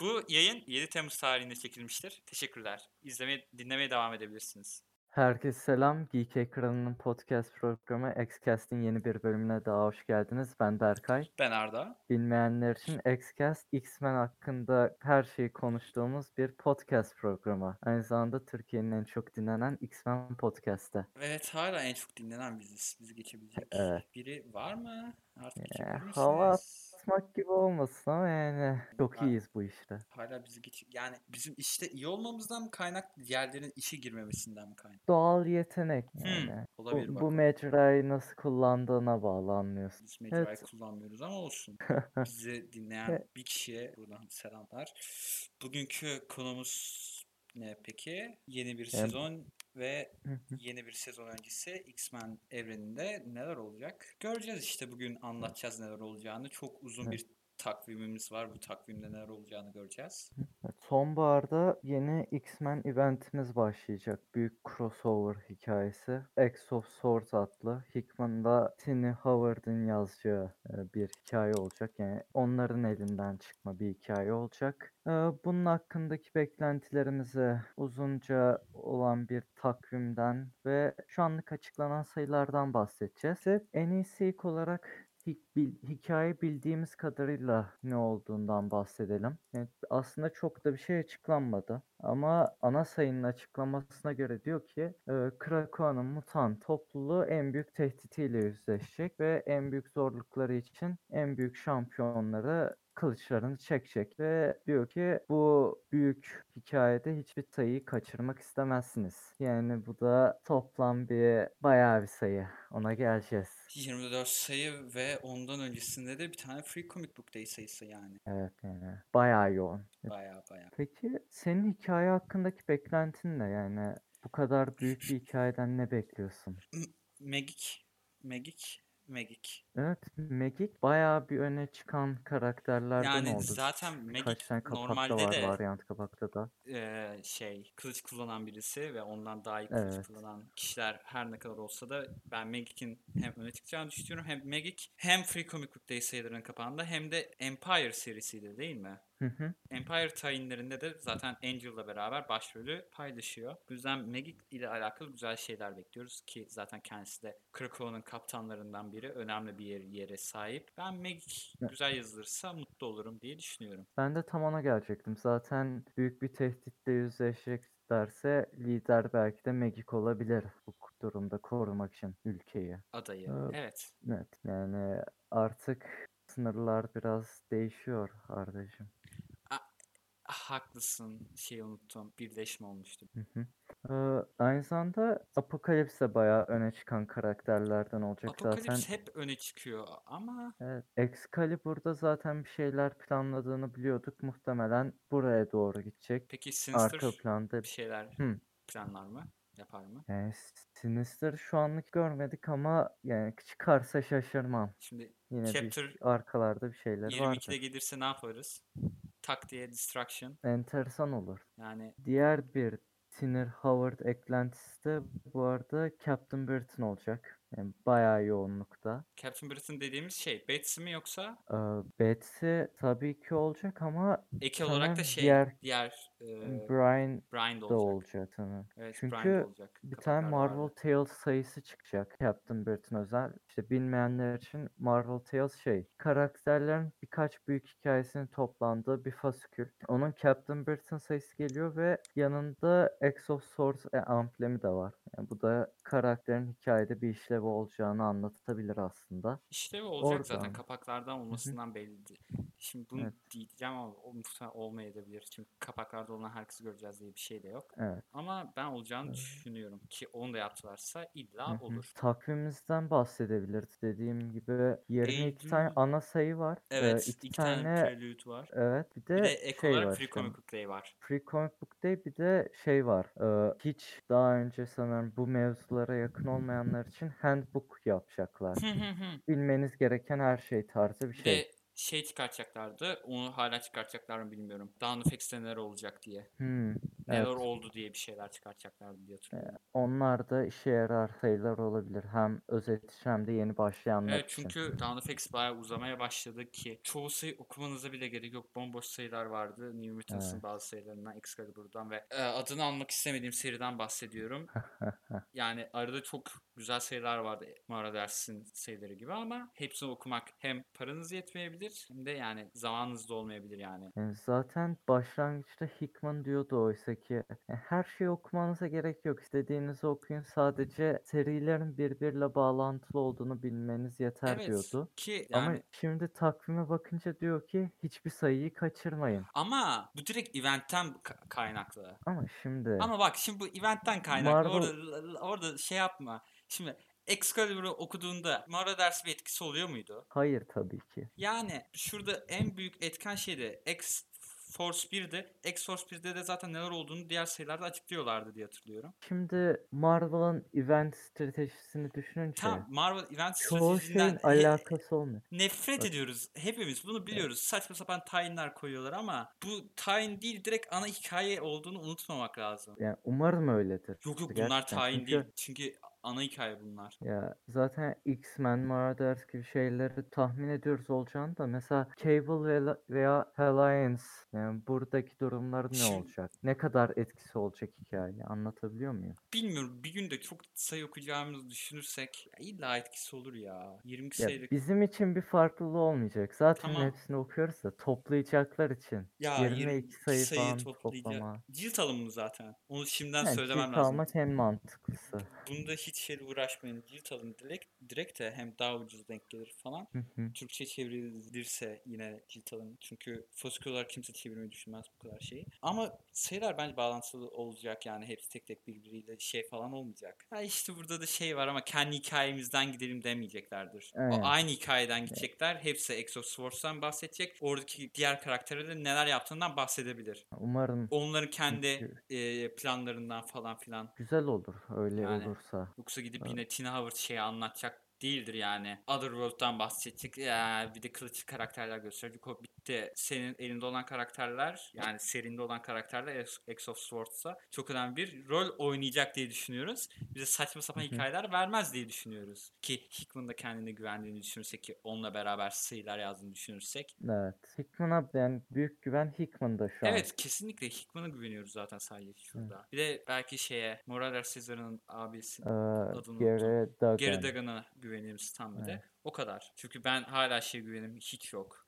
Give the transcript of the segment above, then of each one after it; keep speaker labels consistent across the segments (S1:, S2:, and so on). S1: Bu yayın 7 Temmuz tarihinde çekilmiştir. Teşekkürler. İzlemeye, dinlemeye devam edebilirsiniz.
S2: Herkese selam. Geek Ekranı'nın podcast programı Xcast'in yeni bir bölümüne daha hoş geldiniz. Ben Berkay.
S1: Ben Arda.
S2: Bilmeyenler için Xcast, X-Men hakkında her şeyi konuştuğumuz bir podcast programı. Aynı zamanda Türkiye'nin en çok dinlenen X-Men podcast'ı.
S1: Evet hala en çok dinlenen biziz. Bizi geçebilecek
S2: Evet.
S1: biri var mı? Artık
S2: Ee,
S1: geçebilir misiniz?
S2: hava Atmak gibi olmasın ama yani çok
S1: Ben-
S2: iyiyiz bu işte.
S1: Hala bizi geç... Yani bizim işte iyi olmamızdan mı kaynaklı, diğerlerin işe girmemesinden mi kaynaklı?
S2: Doğal yetenek
S1: Hmm,
S2: yani. Bu,
S1: Olabilir bak.
S2: bu mecrayı nasıl kullandığına bağlı anlıyorsun.
S1: Biz Media'yı
S2: Evet.
S1: kullanmıyoruz ama olsun. Bizi dinleyen
S2: Evet.
S1: bir kişiye buradan selamlar. Bugünkü konumuz ne peki? Yeni bir
S2: Yani-
S1: sezon ve
S2: Hı hı.
S1: yeni bir sezon öncesi X-Men evreninde neler olacak? Göreceğiz işte bugün anlatacağız neler olacağını. Çok uzun
S2: Evet.
S1: bir takvimimiz var. Bu takvimde neler olacağını göreceğiz.
S2: Sonbaharda yeni X-Men eventimiz başlayacak. Büyük crossover hikayesi. X of Swords adlı Hickman'da Tini Howard'ın yazacağı e, bir hikaye olacak. Yani onların elinden çıkma bir hikaye olacak. E, Bunun hakkındaki beklentilerimizi uzunca olan bir takvimden ve şu anlık açıklanan sayılardan bahsedeceğiz. En iyisi ilk olarak hik- bil- hikaye bildiğimiz kadarıyla ne olduğundan bahsedelim. Yani aslında çok da bir şey açıklanmadı. Ama ana sayının açıklamasına göre diyor ki e, Krakowa'nın mutant topluluğu en büyük tehditiyle yüzleşecek ve en büyük zorlukları için en büyük şampiyonları kılıçlarını çekecek ve diyor ki bu büyük hikayede hiçbir sayıyı kaçırmak istemezsiniz. Yani bu da toplam bir bayağı bir sayı. Ona geleceğiz.
S1: 24 sayı ve ondan öncesinde de bir tane Free Comic Book Day sayısı yani.
S2: Evet yani bayağı yoğun.
S1: Baya baya.
S2: Peki senin hikaye hakkındaki beklentin ne? Yani bu kadar büyük bir hikayeden ne bekliyorsun?
S1: Magic, Magic, Magic.
S2: Evet, Magic bayağı bir öne çıkan karakterlerden
S1: Yani
S2: oldu.
S1: zaten Magic
S2: Kaç tane kapakta
S1: normalde
S2: var,
S1: de-
S2: varyant kapakta da.
S1: eee, şey kılıç kullanan birisi ve ondan daha iyi kılıç
S2: Evet.
S1: kullanan kişiler her ne kadar olsa da ben Magic'in hem öne çıkacağını düşünüyorum hem Magic hem Free Comic Book Day sayılarının kapağında hem de Empire serisiydi değil mi?
S2: Hı hı.
S1: Empire tayinlerinde de zaten Angel'la beraber başrolü paylaşıyor. Bu yüzden Magic ile alakalı güzel şeyler bekliyoruz ki zaten kendisi de Krakowa'nın kaptanlarından biri. Önemli bir yer- yere sahip. Ben Magic güzel yazılırsa mutlu olurum diye düşünüyorum.
S2: Ben de tam ona gelecektim. Zaten büyük bir tehditle yüzleşeceklerse lider belki de Magic olabilir bu durumda korumak için ülkeyi.
S1: Adayı.
S2: Evet.
S1: Evet.
S2: Evet, yani artık sınırlar biraz değişiyor Ardacığım.
S1: Ah, Haklısın. Şeyi unuttum. Birleşme olmuştu.
S2: Hı hı. Ee, aynı zamanda Apokalips de bayağı öne çıkan karakterlerden olacak zaten.
S1: Apokalips hep öne çıkıyor ama
S2: Evet, Excalibur'da zaten bir şeyler planladığını biliyorduk. Muhtemelen buraya doğru gidecek.
S1: peki Sinister
S2: Arka planda
S1: bir şey şeyler
S2: Hı.
S1: planlar mı? Yapar mı?
S2: yani Sinister'ı şu anlık görmedik ama yani çıkarsa şaşırmam.
S1: Şimdi
S2: Yine bir
S1: Chapter
S2: arkalarda bir şeyler
S1: 22'de
S2: vardı.
S1: gelirse ne yaparız? Tak diye Distraction.
S2: Enteresan olur.
S1: Yani
S2: Diğer bir Tinner Howard eklentisi de bu arada Captain Britain olacak. Yani bayağı yoğunlukta.
S1: Captain Britain dediğimiz şey Betsy mi yoksa
S2: Ee, Betsy tabii ki olacak ama
S1: ek olarak da
S2: Sanırım
S1: şey diğer,
S2: diğer-
S1: e,
S2: Brian
S1: Brian da
S2: da
S1: olacak.
S2: olacak sanırım.
S1: Evet,
S2: Çünkü
S1: Brian da olacak.
S2: Bir tane
S1: Kapaklarda
S2: Marvel
S1: vardı.
S2: Tales sayısı çıkacak Captain Britain özel. İşte bilmeyenler için Marvel Tales şey, karakterlerin birkaç büyük hikayesinin toplandığı bir fasikül. Onun Captain Britain sayısı geliyor ve yanında X of Swords e, amblemi de var. Yani bu da karakterin hikayede bir işlevi olacağını anlatabilir aslında.
S1: İşte bu olacak zaten
S2: Oradan.
S1: kapaklardan olmasından belliydi. Şimdi bunu diyeceğim ama o muhtemelen olmayabilir. Çünkü kapaklarda olan herkesi göreceğiz diye bir şey de yok.
S2: Evet.
S1: Ama ben olacağını düşünüyorum ki onu da yaptılarsa
S2: Hı
S1: illa
S2: hı.
S1: olur.
S2: Takvimimizden bahsedebiliriz. Dediğim gibi 22 tane
S1: Eylül-
S2: ana sayı var. Ee,
S1: Evet,
S2: iki
S1: iki tane, prelude var.
S2: Evet, bir de,
S1: Bir de ek
S2: şey
S1: olarak
S2: var.
S1: Free
S2: işte,
S1: Comic Book Day var.
S2: Free Comic Book Day bir de şey var. e, hiç daha önce sanırım bu mevzulara yakın olmayanlar için handbook yapacaklar.
S1: Hı hı hı.
S2: Bilmeniz gereken her şey tarzı bir
S1: bir
S2: şey.
S1: de şey çıkartacaklardı. Onu hala çıkartacaklar mı bilmiyorum. Dawn of X'te neler olacak diye.
S2: Hmm,
S1: Neler
S2: evet.
S1: oldu diye bir şeyler çıkartacaklardı diye hatırlıyorum.
S2: Onlar da işe yarar sayılar olabilir. Hem özet için hem de yeni başlayanlar
S1: Evet
S2: için.
S1: çünkü Dawn of X bayağı uzamaya başladı ki çoğu sayı okumanıza bile gerek yok. Bomboş sayılar vardı. New Mutants'ın
S2: Evet.
S1: bazı sayılarından, Excalibur'dan ve e, adını almak istemediğim seriden bahsediyorum. yani arada çok güzel sayılar vardı Mara Dersin sayıları gibi ama hepsini okumak hem paranız yetmeyebilir hem de yani zamanınız da olmayabilir yani.
S2: E, Zaten başlangıçta Hickman diyordu oysa ki "E, her şeyi okumanıza gerek yok. İstediğinizi okuyun. Sadece serilerin birbiriyle bağlantılı olduğunu bilmeniz yeter
S1: Evet
S2: diyordu.
S1: ki yani
S2: Ama şimdi takvime bakınca diyor ki hiçbir sayıyı kaçırmayın.
S1: ama bu direkt eventten ka- kaynaklı.
S2: Ama şimdi
S1: Ama bak şimdi bu eventten kaynaklı.
S2: Marvel-
S1: Orada, orada şey yapma. Şimdi Excalibur'u okuduğunda Mara dersi bir etkisi oluyor muydu?
S2: hayır tabii ki.
S1: Yani şurada en büyük etken şey de X Force 1'de. X Force 1'de de zaten neler olduğunu diğer sayılarda açıklıyorlardı diye hatırlıyorum.
S2: Şimdi Marvel'ın event stratejisini düşününce
S1: Tam Marvel Event
S2: çoğu
S1: stratejisinden
S2: şeyin
S1: he-
S2: alakası olmuyor.
S1: nefret
S2: Bak.
S1: ediyoruz. Hepimiz bunu biliyoruz. Saçma sapan tayinler koyuyorlar ama bu tayin değil direkt ana hikaye olduğunu unutmamak lazım.
S2: Yani umarım öyledir.
S1: Yok yok bunlar
S2: Gerçekten.
S1: tayin
S2: Çünkü-
S1: değil. Çünkü ana hikaye bunlar.
S2: Ya zaten X-Men, Marauders gibi şeyleri tahmin ediyoruz olacağını da mesela Cable ve la- veya Alliance yani buradaki durumlar ne
S1: Şimdi-
S2: olacak? Ne kadar etkisi olacak hikaye? Anlatabiliyor muyum?
S1: Bilmiyorum bir günde çok sayı okuyacağımızı düşünürsek ya illa etkisi olur ya. 20
S2: Ya
S1: sayılık.
S2: bizim için bir farklılığı olmayacak. Zaten
S1: Tamam.
S2: hepsini okuyoruz da toplayacaklar için.
S1: Ya
S2: 22 sayı falan
S1: toplayacak-
S2: toplama.
S1: Cilt alımı zaten. Onu şimdiden
S2: Yani
S1: söylemem
S2: cilt
S1: lazım.
S2: almak en mantıklısı.
S1: Bunda hiç şeyle uğraşmayın. Cilt alın direkt, direkt de hem daha ucuz denk gelir falan.
S2: Hı hı.
S1: Türkçe çevrilirse yine cilt alın. Çünkü Foskyolar kimse çevirmeyi düşünmez bu kadar şeyi. Ama sayılar bence bağlantılı olacak yani. Hepsi tek tek birbiriyle şey falan olmayacak. Ha işte burada da şey var ama kendi hikayemizden gidelim demeyeceklerdir.
S2: Evet.
S1: O aynı hikayeden gidecekler. Hepsi Exoswords'tan bahsedecek. Oradaki diğer karakterlerin neler yaptığından bahsedebilir.
S2: Umarım
S1: Onların kendi e, planlarından falan filan.
S2: güzel olur öyle
S1: Yani.
S2: olursa.
S1: Yoksa gidip
S2: Evet.
S1: yine Tina Howard şeyi anlatacak değildir yani. Otherworld'dan bahsedecek. Ya, Ee, bir de kılıç karakterler gösterecek. O bitti. Senin elinde olan karakterler yani serinde olan karakterler Ex- X of Swords'a çok önemli bir rol oynayacak diye düşünüyoruz. Bize saçma sapan
S2: Hı hı.
S1: hikayeler vermez diye düşünüyoruz. Ki Hickman da kendine güvendiğini düşünürsek ki onunla beraber sayılar yazdığını düşünürsek.
S2: Evet. Hickman'a yani büyük güven Hickman'da şu an.
S1: Evet kesinlikle Hickman'a güveniyoruz zaten sadece şurada. Bir de belki şeye Moral Caesar'ın abisi
S2: Ee,
S1: unuttum.
S2: Gary Duggan.
S1: Geri Dagan'a güvenirim Stanley'de. O kadar. Çünkü ben hala şey güvenim hiç yok.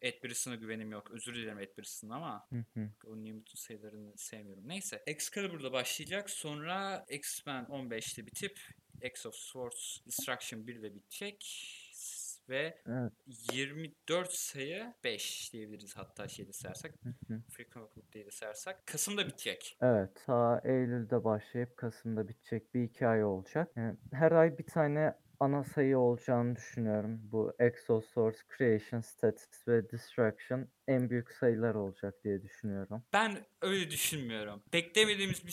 S1: Ed Brisson'a güvenim yok. Özür dilerim Ed Brisson'a ama
S2: Hı hı.
S1: o Newton sayılarını sevmiyorum. Neyse. Excalibur'da başlayacak. Sonra X-Men 15'te bitip X of Swords Destruction 1 ile bitecek. S- Ve
S2: Evet.
S1: 24 sayı 5 diyebiliriz hatta şeyde sersek.
S2: hı.
S1: Free Comic Book diye de sersek. Kasım'da bitecek.
S2: Evet. Ta Eylül'de başlayıp Kasım'da bitecek bir iki ay olacak. Yani her ay bir tane ana sayı olacağını düşünüyorum. Bu Exosource, Creation, Status ve Destruction en büyük sayılar olacak diye düşünüyorum.
S1: Ben öyle düşünmüyorum. Beklemediğimiz bir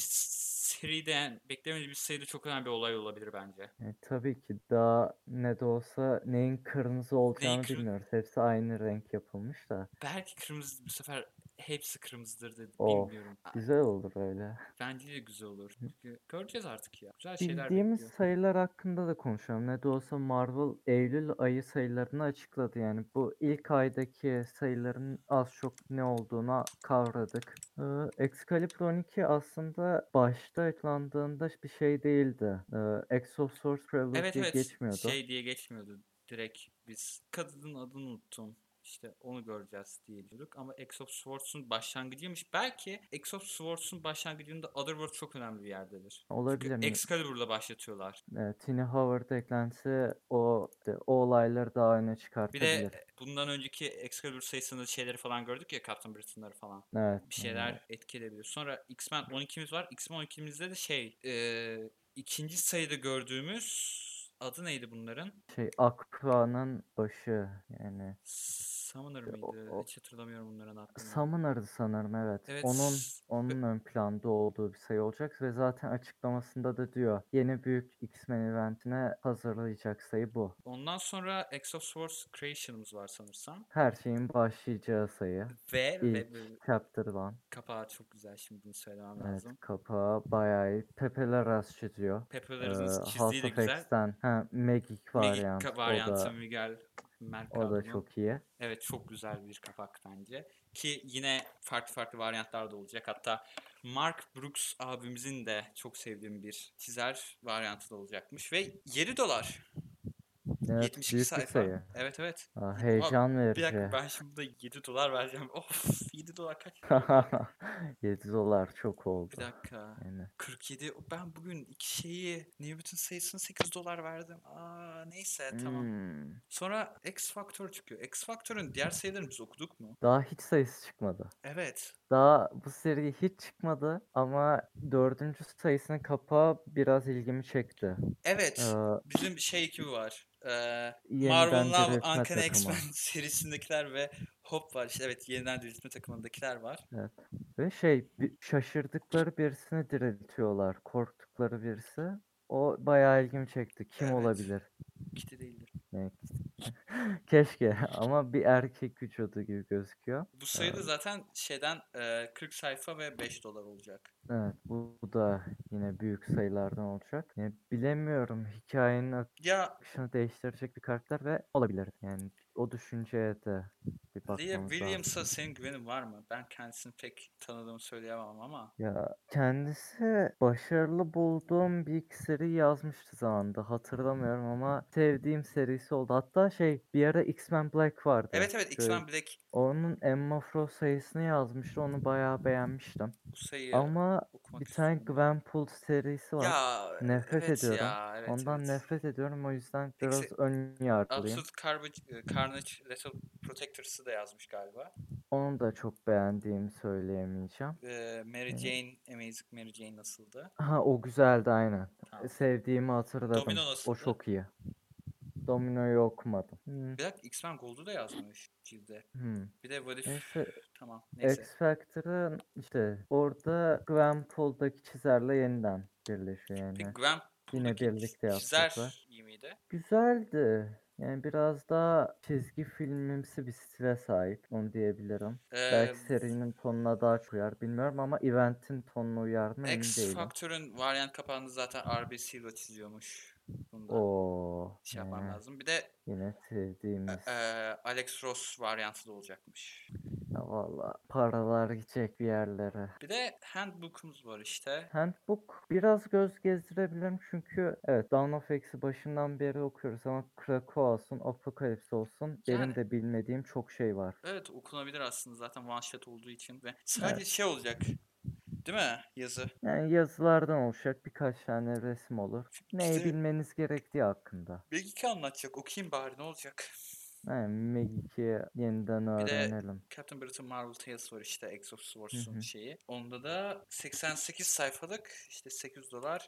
S1: seriden, beklemediğimiz bir sayıda çok önemli bir olay olabilir bence.
S2: E, tabii ki daha ne de olsa neyin kırmızı olacağını
S1: kırmızı-
S2: bilmiyoruz. Hepsi aynı renk yapılmış da.
S1: Belki kırmızı bu sefer hepsi kırmızıdır dedi.
S2: Of,
S1: Bilmiyorum. Aa,
S2: Güzel olur öyle.
S1: Bence de güzel olur. Çünkü göreceğiz artık ya. Güzel şeyler
S2: Bildiğimiz
S1: bekliyor.
S2: sayılar hakkında da konuşalım. Ne de olsa Marvel Eylül ayı sayılarını açıkladı. Yani bu ilk aydaki sayıların az çok ne olduğuna kavradık. Ee, Excalibur 12 aslında başta açıklandığında bir şey değildi. Ee, Exosource Prelude
S1: Evet
S2: diye
S1: evet.
S2: geçmiyordu.
S1: Şey diye geçmiyordu. Direkt biz kadının adını unuttum. İşte onu göreceğiz diye diyorduk. Ama X of Swords'un başlangıcıymış. Belki X of Swords'un başlangıcında Otherworld çok önemli bir yerdedir.
S2: Olabilir
S1: Çünkü
S2: mi?
S1: Excalibur'la başlatıyorlar.
S2: Ee, Tiny Howard eklentisi o, o olayları daha öne
S1: Bir
S2: çıkartabilir.
S1: de bundan önceki Excalibur sayısında şeyleri falan gördük ya Captain Britain'ları falan.
S2: evet.
S1: bir şeyler etki edebilir. Sonra X-Men 12'miz var. X-Men 12'mizde de şey eee, ikinci sayıda gördüğümüz adı neydi bunların?
S2: Şey Aqua'nın başı yani.
S1: Summoner mıydı?
S2: o-
S1: Hiç hatırlamıyorum bunların adını.
S2: Summoner'dı sanırım evet.
S1: Evet,
S2: Onun
S1: s-
S2: onun ön planda olduğu bir sayı olacak ve zaten açıklamasında da diyor yeni büyük X-Men eventine hazırlayacak sayı bu.
S1: Ondan sonra X of Swords Creation'ımız var sanırsam.
S2: Her şeyin başlayacağı sayı.
S1: Ve, ve
S2: İlk
S1: bu
S2: chapter one.
S1: kapağı çok güzel şimdi bunu söylemem
S2: Evet
S1: lazım.
S2: kapağı bayağı iyi. Pepe Larraz çiziyor.
S1: Pepper'larınız
S2: Ee,
S1: çizdiği de
S2: House of
S1: güzel.
S2: X'ten ha, Magic variant.
S1: Magic
S2: o
S1: varyantı
S2: da,
S1: Miguel
S2: o
S1: Mercado'nun.
S2: da çok iyi.
S1: Evet çok güzel bir kapak bence. Ki yine farklı farklı varyantlar da olacak. Hatta Mark Brooks abimizin de çok sevdiğim bir çizer varyantı da olacakmış. Ve 7 dolar.
S2: Evet,
S1: 72
S2: büyük bir
S1: sayfa.
S2: sayı.
S1: Evet evet.
S2: Aa, heyecan
S1: Bir dakika
S2: verici.
S1: ben şimdi 7 dolar vereceğim. Of 7 dolar kaç?
S2: 7 dolar çok oldu.
S1: Bir dakika.
S2: Yani
S1: 47. Ben bugün iki şeyi Newton sayısını 8 dolar verdim. Aa neyse E, tamam.
S2: hmm,
S1: Sonra X Factor çıkıyor. X Factor'ın diğer sayılarını biz okuduk mu?
S2: Daha hiç sayısı çıkmadı.
S1: Evet.
S2: Daha bu seri hiç çıkmadı ama dördüncü sayısının kapağı biraz ilgimi çekti.
S1: Evet.
S2: Ee,
S1: Bizim şey ekibi var. Ee,
S2: yeniden
S1: Marvel Now,
S2: diriltme
S1: Uncanny
S2: takımı.
S1: X-Men serisindekiler ve Hop var. İşte evet yeniden diriltme takımındakiler var.
S2: Ve şey bir- şaşırdıkları birisini diriltiyorlar. Korktukları birisi. O bayağı ilgimi çekti. Kim
S1: Evet.
S2: olabilir?
S1: Kiti değildir.
S2: Yani- Keşke ama bir erkek vücudu gibi gözüküyor.
S1: Bu sayıda zaten şeyden e, 40 sayfa ve 5 dolar olacak.
S2: Evet bu, bu da yine büyük sayılardan olacak. Yani bilemiyorum hikayenin
S1: Ya
S2: akışını değiştirecek bir karakter ve olabilir. Yani o düşünceye de bir
S1: Leah
S2: bakmamız lazım.
S1: Williams'a senin güvenin var mı? Ben kendisini pek tanıdığımı söyleyemem ama.
S2: Ya kendisi başarılı bulduğum bir iki seri yazmıştı zamanında hatırlamıyorum ama sevdiğim serisi oldu. Hatta şey bir ara X-Men Black vardı.
S1: Evet evet
S2: Böyle-
S1: X-Men Black
S2: Onun Emma Frost sayısını yazmıştı. Onu bayağı beğenmiştim.
S1: bu sayıyı
S2: Ama
S1: okumak
S2: bir tane
S1: istiyorum.
S2: Gwenpool serisi var.
S1: Ya
S2: Nefret
S1: evet
S2: ediyorum.
S1: ya evet
S2: Ondan
S1: evet.
S2: nefret ediyorum. O yüzden biraz
S1: Eksi-
S2: ön yargılıyım.
S1: Absolute Carnage, e, Carnage Lethal Protectors'ı da yazmış galiba.
S2: Onu da çok beğendiğimi söyleyemeyeceğim.
S1: Ee, Mary
S2: Evet.
S1: Jane, Amazing Mary Jane nasıldı?
S2: Ha o güzeldi aynen.
S1: Tamam.
S2: Sevdiğimi hatırladım.
S1: Domino
S2: O
S1: nasıldı?
S2: çok iyi. Domino'yu okumadım. Hmm,
S1: Bir dakika X-Men Gold'u da yazmış cilde.
S2: hmm.
S1: Bir de What If-
S2: Neyse
S1: Tamam neyse.
S2: X Factor'ın işte orada Gwenpool'daki çizerle yeniden birleşiyor yani.
S1: Peki Gwen
S2: Yine
S1: Pool'daki
S2: birlikte yapacaklar.
S1: çizer iyi miydi?
S2: Güzeldi. Yani biraz daha çizgi filmimsi bir stile sahip. Onu diyebilirim.
S1: Ee,
S2: Belki serinin tonuna daha çok uyar bilmiyorum ama eventin tonuna uyar mı emin
S1: X
S2: değilim.
S1: Factor'ın varyant kapağını zaten RB Silva çiziyormuş. Bunu da
S2: Oo,
S1: şey yapmam
S2: yani
S1: lazım. Bir de
S2: yine
S1: e,
S2: sevdiğimiz.
S1: e, Alex Ross varyantı da olacakmış.
S2: Ya valla paralar gidecek bir yerlere.
S1: Bir de Handbook'umuz var işte.
S2: Handbook biraz göz gezdirebilirim çünkü evet Dawn of X'i başından beri okuyoruz ama Krakoa olsun, Apocalypse olsun
S1: Yani.
S2: benim de bilmediğim çok şey var.
S1: Evet okunabilir aslında zaten one shot olduğu için ve sadece şey olacak. Değil mi yazı?
S2: Yani yazılardan oluşacak birkaç tane resim olur. Neyi
S1: İşte-
S2: bilmeniz gerektiği hakkında.
S1: Bilgi anlatacak. Okuyayım bari ne olacak?
S2: Yani Magic'i yeniden
S1: Bir de-
S2: öğrenelim.
S1: Captain Britain Marvel Tales var işte X of
S2: Hı
S1: Swords'un
S2: hı.
S1: şeyi. Onda da 88 sayfalık işte 800 dolar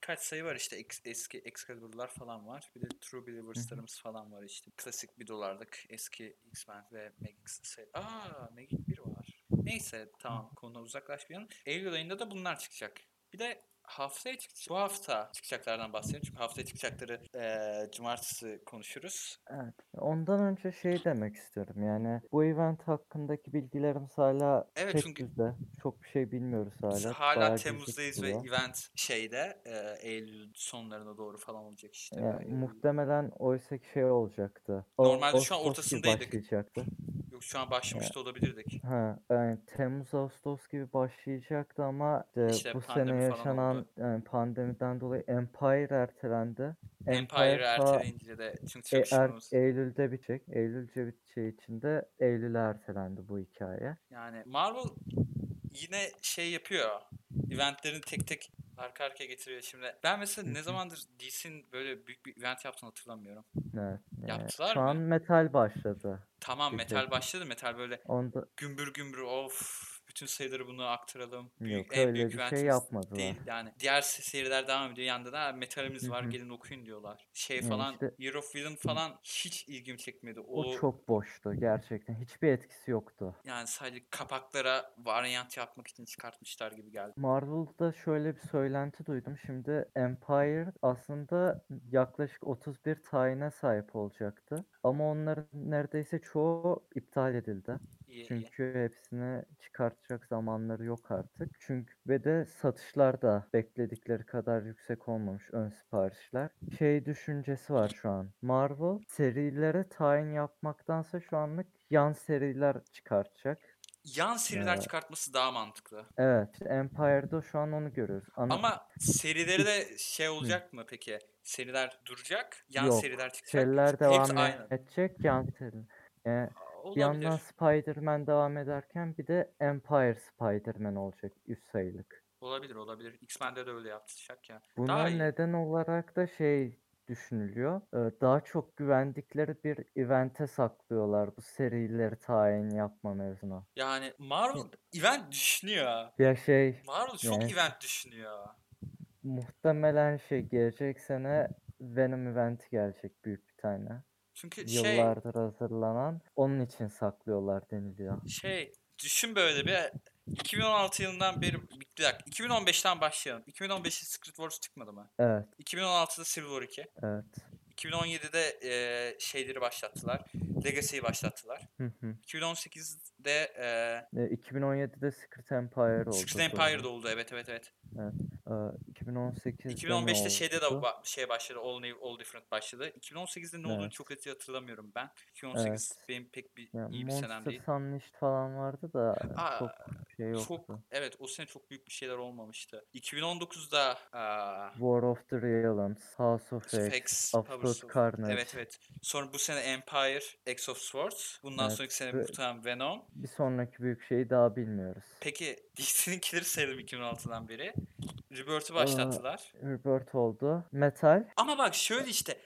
S1: kaç sayı var işte ex- eski Excalibur'lar falan var. Bir de True Believers'larımız falan var işte. Klasik 1 dolarlık eski X-Men ve Magix sayı. Aa Magic 1 var. Neyse tamam konudan uzaklaşmayalım. Eylül ayında da bunlar çıkacak. Bir de haftaya çıkacak. Bu hafta çıkacaklardan bahsedelim. Çünkü haftaya çıkacakları eee, cumartesi konuşuruz.
S2: Evet. Ondan önce şey demek istiyorum yani bu event hakkındaki bilgilerimiz hala
S1: Evet,
S2: tek
S1: çünkü-
S2: düzde. Çok bir şey bilmiyoruz
S1: Biz
S2: hala.
S1: hala
S2: Bayağı gizli
S1: Temmuz'dayız ve
S2: tutuluyor.
S1: event şeyde e, Eylül sonlarına doğru falan olacak işte.
S2: Ya,
S1: Eylül-
S2: muhtemelen oysaki şey olacaktı. O-
S1: Normalde şu an
S2: Ağustos gibi
S1: ortasındaydık.
S2: başlayacaktı.
S1: Yok şu an başlamış da olabilirdik.
S2: Ha, yani Temmuz Ağustos gibi başlayacaktı ama işte
S1: İşte
S2: bu
S1: pandemi
S2: sene
S1: falan
S2: yaşanan
S1: oldu.
S2: yani pandemiden dolayı Empire ertelendi.
S1: Empire'ı
S2: ta
S1: erteleyince de çünkü
S2: e- er-
S1: çalışmamız.
S2: Eylül'de bitecek. Eylül'ce biteceği şey için de Eylül'e ertelendi bu hikaye.
S1: Yani Marvel yine şey yapıyor. Eventlerini tek tek arka arkaya getiriyor şimdi. Ben mesela
S2: Hı
S1: ne
S2: hı.
S1: zamandır DC'nin böyle büyük bir event yaptığını hatırlamıyorum.
S2: Evet. e,
S1: Yaptılar
S2: şu
S1: mı?
S2: an metal başladı.
S1: Tamam
S2: Bir
S1: metal
S2: tek.
S1: başladı. Metal böyle
S2: Onda
S1: gümbür gümbür of bütün sayıları bunu aktaralım.
S2: Yok
S1: en
S2: öyle bir şey
S1: güvencimiz
S2: yapmadılar.
S1: değil yani. Diğer se- seriler devam ediyor. Yanında da metalimiz var
S2: Hı hı.
S1: gelin okuyun diyorlar. Şey
S2: Ya
S1: falan
S2: işte-
S1: Year of Villain falan hiç ilgim çekmedi.
S2: O
S1: O,
S2: çok boştu gerçekten. Hiçbir etkisi yoktu.
S1: yani sadece kapaklara varyant yapmak için çıkartmışlar gibi geldi.
S2: Marvel'da şöyle bir söylenti duydum. Şimdi Empire aslında yaklaşık 31 tane sahip olacaktı. Ama onların neredeyse çoğu iptal edildi.
S1: İyi, iyi.
S2: Çünkü hepsini çıkartacak zamanları yok artık. Çünkü ve de satışlar da bekledikleri kadar yüksek olmamış ön siparişler. Şey düşüncesi var şu an. Marvel serilere tayin yapmaktansa şu anlık yan seriler çıkartacak.
S1: Yan seriler
S2: Ee,
S1: çıkartması daha mantıklı.
S2: Evet, işte Empire'da şu an onu görüyoruz. Ana
S1: Ama serileri de şey olacak mı peki? Seriler duracak, yan
S2: Yok.
S1: seriler çıkacak.
S2: seriler
S1: Hepsi
S2: devam
S1: aynı.
S2: edecek, yan seri. Ee, bir
S1: Olabilir.
S2: yandan Spider-Man devam ederken bir de Empire Spider-Man olacak 100 sayılık.
S1: Olabilir, olabilir. X-Men'de de öyle yaptıracak ya.
S2: Buna
S1: Daha iyi.
S2: neden olarak da şey düşünülüyor. e, Daha çok güvendikleri bir evente saklıyorlar bu serileri tayin yapma mevzuna.
S1: Yani Marvel event düşünüyor. ha.
S2: Ya şey
S1: Marvel çok
S2: Yani-
S1: event düşünüyor.
S2: muhtemelen şey gelecek sene Venom eventi gelecek büyük bir tane.
S1: Çünkü şey
S2: Yıllardır hazırlanan onun için saklıyorlar deniliyor.
S1: şey düşün böyle bir 2016 yılından beri bir dakika 2015'ten başlayalım. 2015'te Secret Wars çıkmadı mı?
S2: Evet,
S1: 2016'da Civil War 2.
S2: evet.
S1: 2017'de eee, e, şeyleri başlattılar. Legacy'yi başlattılar.
S2: Hı hı.
S1: 2018'de eee
S2: E, 2017'de Secret Empire oldu.
S1: Secret
S2: doğru.
S1: Empire'da oldu evet evet evet.
S2: E, 2018'de ne
S1: 2015'te şeyde de
S2: oldu?
S1: ba- şey başladı. All New, All Different başladı. 2018'de ne olduğunu
S2: Evet.
S1: çok net hatırlamıyorum ben. 2018
S2: Evet.
S1: benim pek bir
S2: Ya
S1: iyi bir senem
S2: Monster
S1: değil.
S2: Sunlight falan vardı da
S1: Aa,
S2: çok şey yoktu.
S1: Çok evet o sene çok büyük bir şeyler olmamıştı. 2019'da aa,
S2: War of the Realms, House of X,
S1: Sphinx, Powers
S2: Absolute
S1: of-
S2: Carnage.
S1: Evet evet. Sonra bu sene Empire, X of Swords. Bundan
S2: Evet,
S1: sonraki sene
S2: ve-
S1: muhtemelen Venom.
S2: Bir sonraki büyük şeyi daha bilmiyoruz.
S1: Peki DC'ninkileri sayalım 2016'dan beri. Rebirth'ü başlattılar.
S2: Rebirth oldu. Metal.
S1: Ama bak şöyle işte.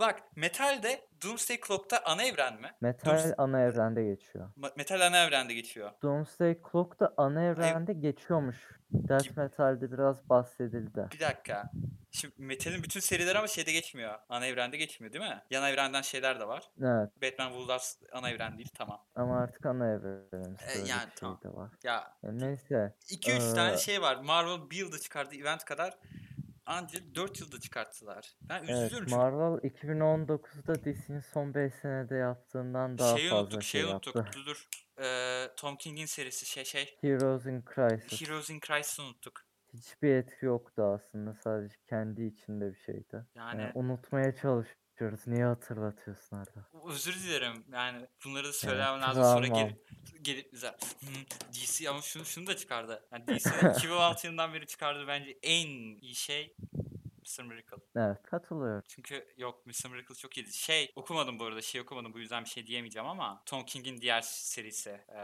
S1: Bak Metal'de Doomsday Clock'ta ana evren mi?
S2: Metal
S1: Doomsday-
S2: ana evrende geçiyor.
S1: Ma- Metal ana evrende geçiyor.
S2: Doomsday Clock da ana evrende geçiyormuş. Death
S1: Gibi-
S2: Metal'de biraz bahsedildi.
S1: Bir dakika. Şimdi Metal'in bütün serileri ama şeyde geçmiyor. Ana evrende geçmiyor değil mi? Yan evrenden şeyler de var.
S2: Evet
S1: Batman Woolworths ana evren değil tamam.
S2: ama artık ana
S1: E,
S2: evrenimiz böyle bir
S1: yani
S2: şey
S1: tamam.
S2: de var.
S1: Ya
S2: Ya neyse.
S1: 2-3 tane
S2: Ee,
S1: şey var. Marvel bir yılda çıkardığı event kadar ancak 4 yılda çıkarttılar. Ben
S2: Evet,
S1: üzülüyorum çünkü
S2: Marvel 2019'da DC'nin son 5 senede yaptığından daha
S1: şeyi
S2: fazla
S1: unuttuk,
S2: şey
S1: şeyi unuttuk.
S2: yaptı.
S1: Dur dur. Ee, Tom King'in serisi şey şey.
S2: Heroes in Crisis.
S1: Heroes in Crisis'ı unuttuk.
S2: Hiçbir etki yoktu aslında. Sadece kendi içinde bir şeydi. Yani
S1: Yani
S2: unutmaya çalışıyoruz. Niye hatırlatıyorsun Arda?
S1: özür dilerim. Yani bunları da
S2: Yani
S1: söylemem lazım. Sonra
S2: travmam.
S1: gelip gelip bize "Hmm, DC ama şunu şunu da çıkardı. Yani DC'nin 2006 yılından beri çıkardığı bence en iyi şey Mr. Miracle.
S2: Evet katılıyorum.
S1: Çünkü yok Mr. Miracle çok iyiydi. Şey okumadım bu arada şey okumadım bu yüzden bir şey diyemeyeceğim ama Tom King'in diğer serisi eee,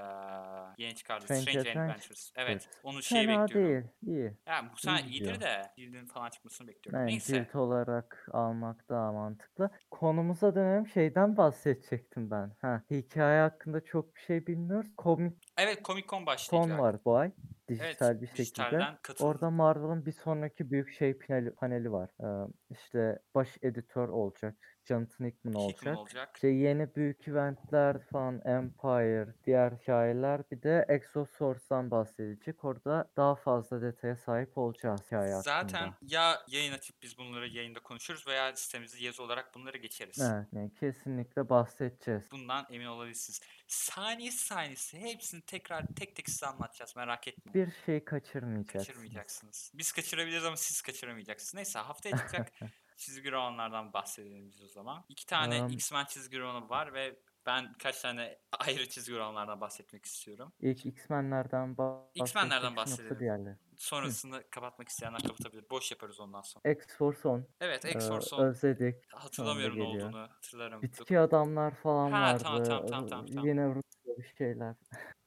S1: yeni çıkardı
S2: Strange
S1: Strange
S2: Adventures.
S1: Adventures. Evet onun şeyi
S2: Fena
S1: şey bekliyorum.
S2: değil. iyi.
S1: Ya muhtemelen
S2: iyi
S1: iyidir
S2: gidiyor.
S1: de cildinin falan çıkmasını bekliyorum.
S2: Yani
S1: Neyse.
S2: cilt olarak almak daha mantıklı. Konumuza dönelim. Şeyden bahsedecektim ben. Ha, hikaye hakkında çok bir şey bilmiyoruz. Comic
S1: Evet Comic Con
S2: Con
S1: başlayacak.
S2: var bu ay.
S1: Evet
S2: Dijital bir şekilde.
S1: dijitalden katıldı.
S2: Orada Marvel'ın bir sonraki büyük şey paneli, paneli var. Ee, işte baş editör olacak. Jonathan Hickman
S1: Hickman
S2: olacak. Şey
S1: olacak.
S2: İşte yeni büyük eventler falan Empire, diğer hikayeler bir de Exosource'dan bahsedecek. Orada daha fazla detaya sahip olacağız hikaye
S1: Zaten
S2: hakkında.
S1: ya yayın açıp biz bunları yayında konuşuruz veya sitemizde yazı olarak bunları geçeriz.
S2: Evet, yani kesinlikle bahsedeceğiz.
S1: Bundan emin olabilirsiniz. Saniye saniyesi hepsini tekrar tek tek size anlatacağız merak etmeyin.
S2: Bir şey kaçırmayacaksınız.
S1: Kaçırmayacaksınız. Biz kaçırabiliriz ama siz kaçıramayacaksınız. Neyse haftaya çıkacak çizgi romanlardan bahsedelim biz o zaman. İki tane
S2: Am,
S1: X-Men çizgi romanı var ve ben birkaç tane ayrı çizgi romanlardan bahsetmek istiyorum.
S2: İlk X-Men'lerden
S1: X-Men'lerden
S2: bahsedeceksin yoksa
S1: bahsedelim.
S2: diğerleri.
S1: Sonrasını kapatmak isteyenler kapatabilir. Boş yaparız ondan sonra.
S2: X-Force 10.
S1: Evet,
S2: Ee,
S1: X-Force on-
S2: özledik.
S1: hatırlamıyorum ne
S2: geliyor.
S1: olduğunu. Hatırlarım. Dur-
S2: Bitki adamlar falan
S1: Ha
S2: vardı.
S1: tamam tamam tamam tamam
S2: Ee,
S1: tamam.
S2: Yine Rusya bir şeyler.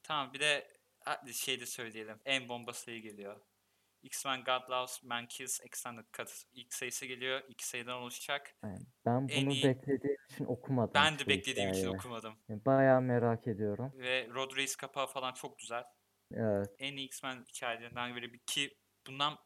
S1: Tamam bir de ha, şey de söyleyelim. En bombası iyi geliyor. X-Men God Loves Man Kills Extended Cut ilk sayısı geliyor. İki sayıdan oluşacak.
S2: Yani ben
S1: En
S2: bunu
S1: iyi-
S2: beklediğim için okumadım.
S1: Ben de
S2: şu
S1: beklediğim için
S2: hikayeyi.
S1: okumadım.
S2: Yani Bayağı merak ediyorum.
S1: Ve Road Race kapağı falan çok güzel.
S2: Evet.
S1: En iyi X-Men hikayelerinden biri bir- ki bundan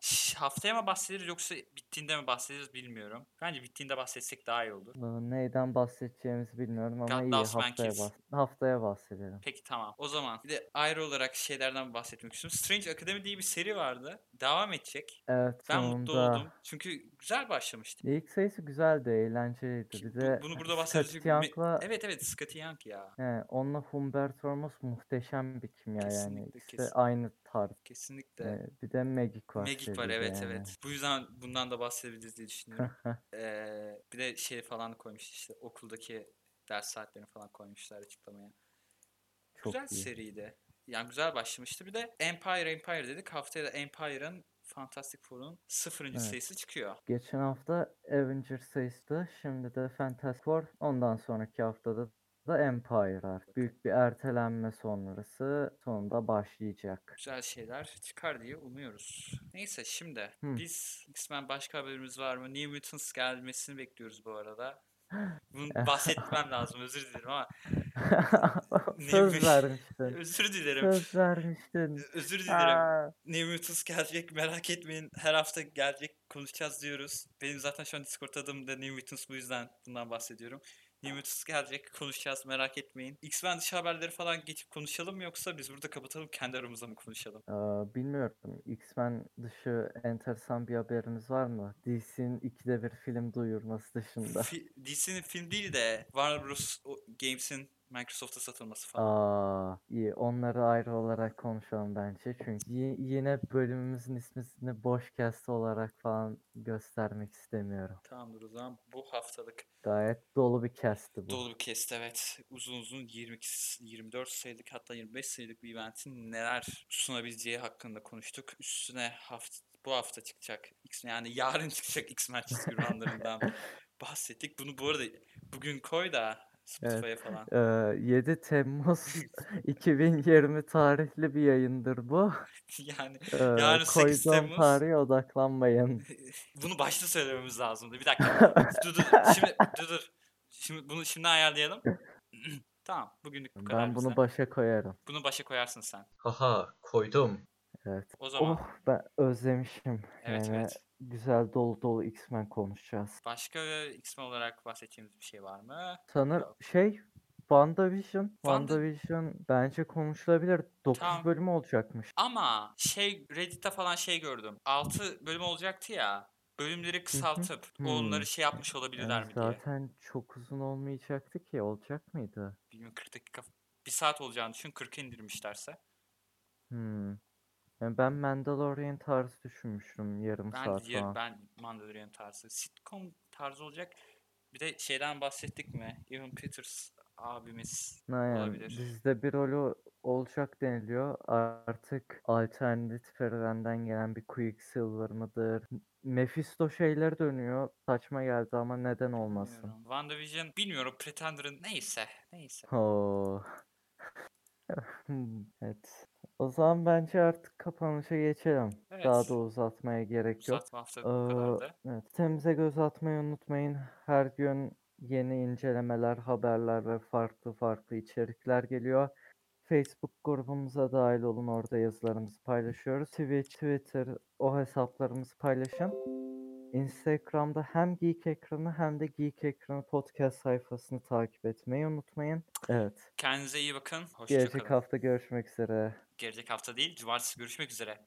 S1: Şş, haftaya mı bahsederiz yoksa bittiğinde mi bahsederiz bilmiyorum. Bence bittiğinde bahsetsek daha iyi olur.
S2: Ee, Neyden bahsedeceğimizi bilmiyorum ama iyi
S1: Loves Man
S2: haftaya,
S1: Kills.
S2: bahs- haftaya bahsedelim.
S1: Peki tamam. O zaman bir de ayrı olarak şeylerden bahsetmek istiyorum. Strange Academy diye bir seri vardı. Devam edecek.
S2: Evet
S1: Ben
S2: sonunda.
S1: mutlu oldum. Çünkü güzel başlamıştı.
S2: İlk sayısı güzeldi, eğlenceliydi.
S1: Ki
S2: Bir
S1: bu-
S2: de
S1: bunu burada
S2: Scott
S1: bahsedecek mi-
S2: Young'la
S1: Evet evet Scotty Young ya.
S2: he, onunla Humberto Ramos muhteşem bir kimya yani.
S1: Kesinlikle,
S2: İkisi de
S1: kesin-
S2: aynı tarz.
S1: Kesinlikle.
S2: Ee, bir de Magic var.
S1: Magic var
S2: seride
S1: evet
S2: yani.
S1: evet. Bu yüzden bundan da bahsedebiliriz diye düşünüyorum. Ee, bir de şey falan koymuş işte okuldaki ders saatlerini falan koymuşlar açıklamaya.
S2: Çok
S1: güzel
S2: iyi.
S1: seriydi. Yani güzel başlamıştı. Bir de Empire Empire dedik. Haftaya da Empire'ın Fantastic Four'un sıfırıncı
S2: Evet.
S1: sayısı çıkıyor.
S2: Geçen hafta Avengers sayısı, şimdi de Fantastic Four. Ondan sonraki haftada da Empire artık. Büyük bir ertelenme sonrası sonunda başlayacak.
S1: Güzel şeyler çıkar diye umuyoruz. Neyse şimdi
S2: Hmm.
S1: biz X-Men başka haberimiz var mı? New Mutants gelmesini bekliyoruz bu arada. Bunu bahsetmem lazım özür dilerim ama
S2: Söz
S1: Neymiş?
S2: vermiştin.
S1: özür dilerim.
S2: Söz vermiştin.
S1: Özür dilerim.
S2: Aa,
S1: New Mutants gelecek merak etmeyin. Her hafta gelecek konuşacağız diyoruz. Benim zaten şu an Discord adım da New Mutants bu yüzden bundan bahsediyorum. New Mutants gelecek konuşacağız merak etmeyin. X-Men dışı haberleri falan geçip konuşalım mı yoksa biz burada kapatalım kendi aramızda mı konuşalım?
S2: aa, bilmiyorum. X-Men dışı enteresan bir haberimiz var mı? DC'nin ikide bir film duyurması dışında.
S1: Fi- DC'nin film değil de Warner Bros. o- Games'in Microsoft'a satılması falan.
S2: Aa, iyi. Onları ayrı olarak konuşalım bence. Çünkü y- yine bölümümüzün ismini boş cast olarak falan göstermek istemiyorum.
S1: Tamamdır o zaman bu haftalık
S2: Gayet dolu bir cast'ti bu.
S1: Dolu bir kest evet. Uzun uzun 22, 24 sayılık hatta 25 sayılık bir eventin neler sunabileceği hakkında konuştuk. Üstüne hafta, bu hafta çıkacak X yani yarın çıkacak X-Men çizgi romanlarından bahsettik. Bunu bu arada bugün koy da Spotify'a falan.
S2: Ee, 7 Temmuz 2020 tarihli bir yayındır bu.
S1: yani
S2: Ee,
S1: Yarın 8
S2: koyduğum
S1: Temmuz.
S2: tarihe odaklanmayın.
S1: bunu başta söylememiz lazımdı. Bir dakika. dur dur. Şimdi dur dur. Şimdi bunu şimdi ayarlayalım. tamam. Bugünlük bu kadar.
S2: Ben bunu
S1: bizden.
S2: başa koyarım.
S1: bunu başa koyarsın sen.
S3: Haha koydum.
S2: Evet.
S1: O zaman
S2: Oh ben özlemişim.
S1: evet
S2: Yani
S1: evet.
S2: Güzel dolu dolu X-Men konuşacağız.
S1: Başka e, X-Men olarak bahsedeceğimiz bir şey var mı?
S2: Sanır şey WandaVision.
S1: Wanda-
S2: WandaVision bence konuşulabilir. 9
S1: Tamam.
S2: bölüm olacakmış.
S1: Ama şey Reddit'te falan şey gördüm. 6 bölüm olacaktı ya. Bölümleri kısaltıp
S2: Hmm.
S1: onları şey yapmış olabilirler
S2: Yani
S1: mi diye.
S2: zaten çok uzun olmayacaktı ki. Olacak mıydı?
S1: Bilmiyorum 40 dakika 1 saat olacağını düşün 40 indirmişlerse.
S2: Hmm. Yani ben Mandalorian tarzı düşünmüştüm yarım
S1: Ben
S2: saat
S1: diğer
S2: falan.
S1: ben Mandalorian tarzı sitcom tarzı olacak. Bir de şeyden bahsettik mi? Evan Peters abimiz.
S2: Ne yani,
S1: olabilir.
S2: dizide bir rolü olacak deniliyor. Artık alternatif evrenden gelen bir Quicksilver mıdır? Mephisto şeyler dönüyor. Saçma geldi ama neden olmasın?
S1: Bilmiyorum. WandaVision bilmiyorum Pretender'ın neyse. Neyse.
S2: Oo. Oh. Hmm, Evet. O zaman bence artık kapanışa geçelim.
S1: Evet.
S2: Daha da uzatmaya gerek yok.
S1: Uzat bu hafta bu
S2: Ee,
S1: kadardı.
S2: evet, sitemize göz atmayı unutmayın. Her gün yeni incelemeler, haberler ve farklı farklı içerikler geliyor. Facebook grubumuza dahil olun. Orada yazılarımızı paylaşıyoruz. Twitch, Twitter o hesaplarımızı paylaşın. Instagram'da hem Geek Ekranı hem de Geek Ekranı podcast sayfasını takip etmeyi unutmayın. Evet.
S1: Kendinize iyi bakın. Hoşçakalın.
S2: Gelecek hafta görüşmek üzere.
S1: Gelecek hafta değil, cumartesi görüşmek üzere.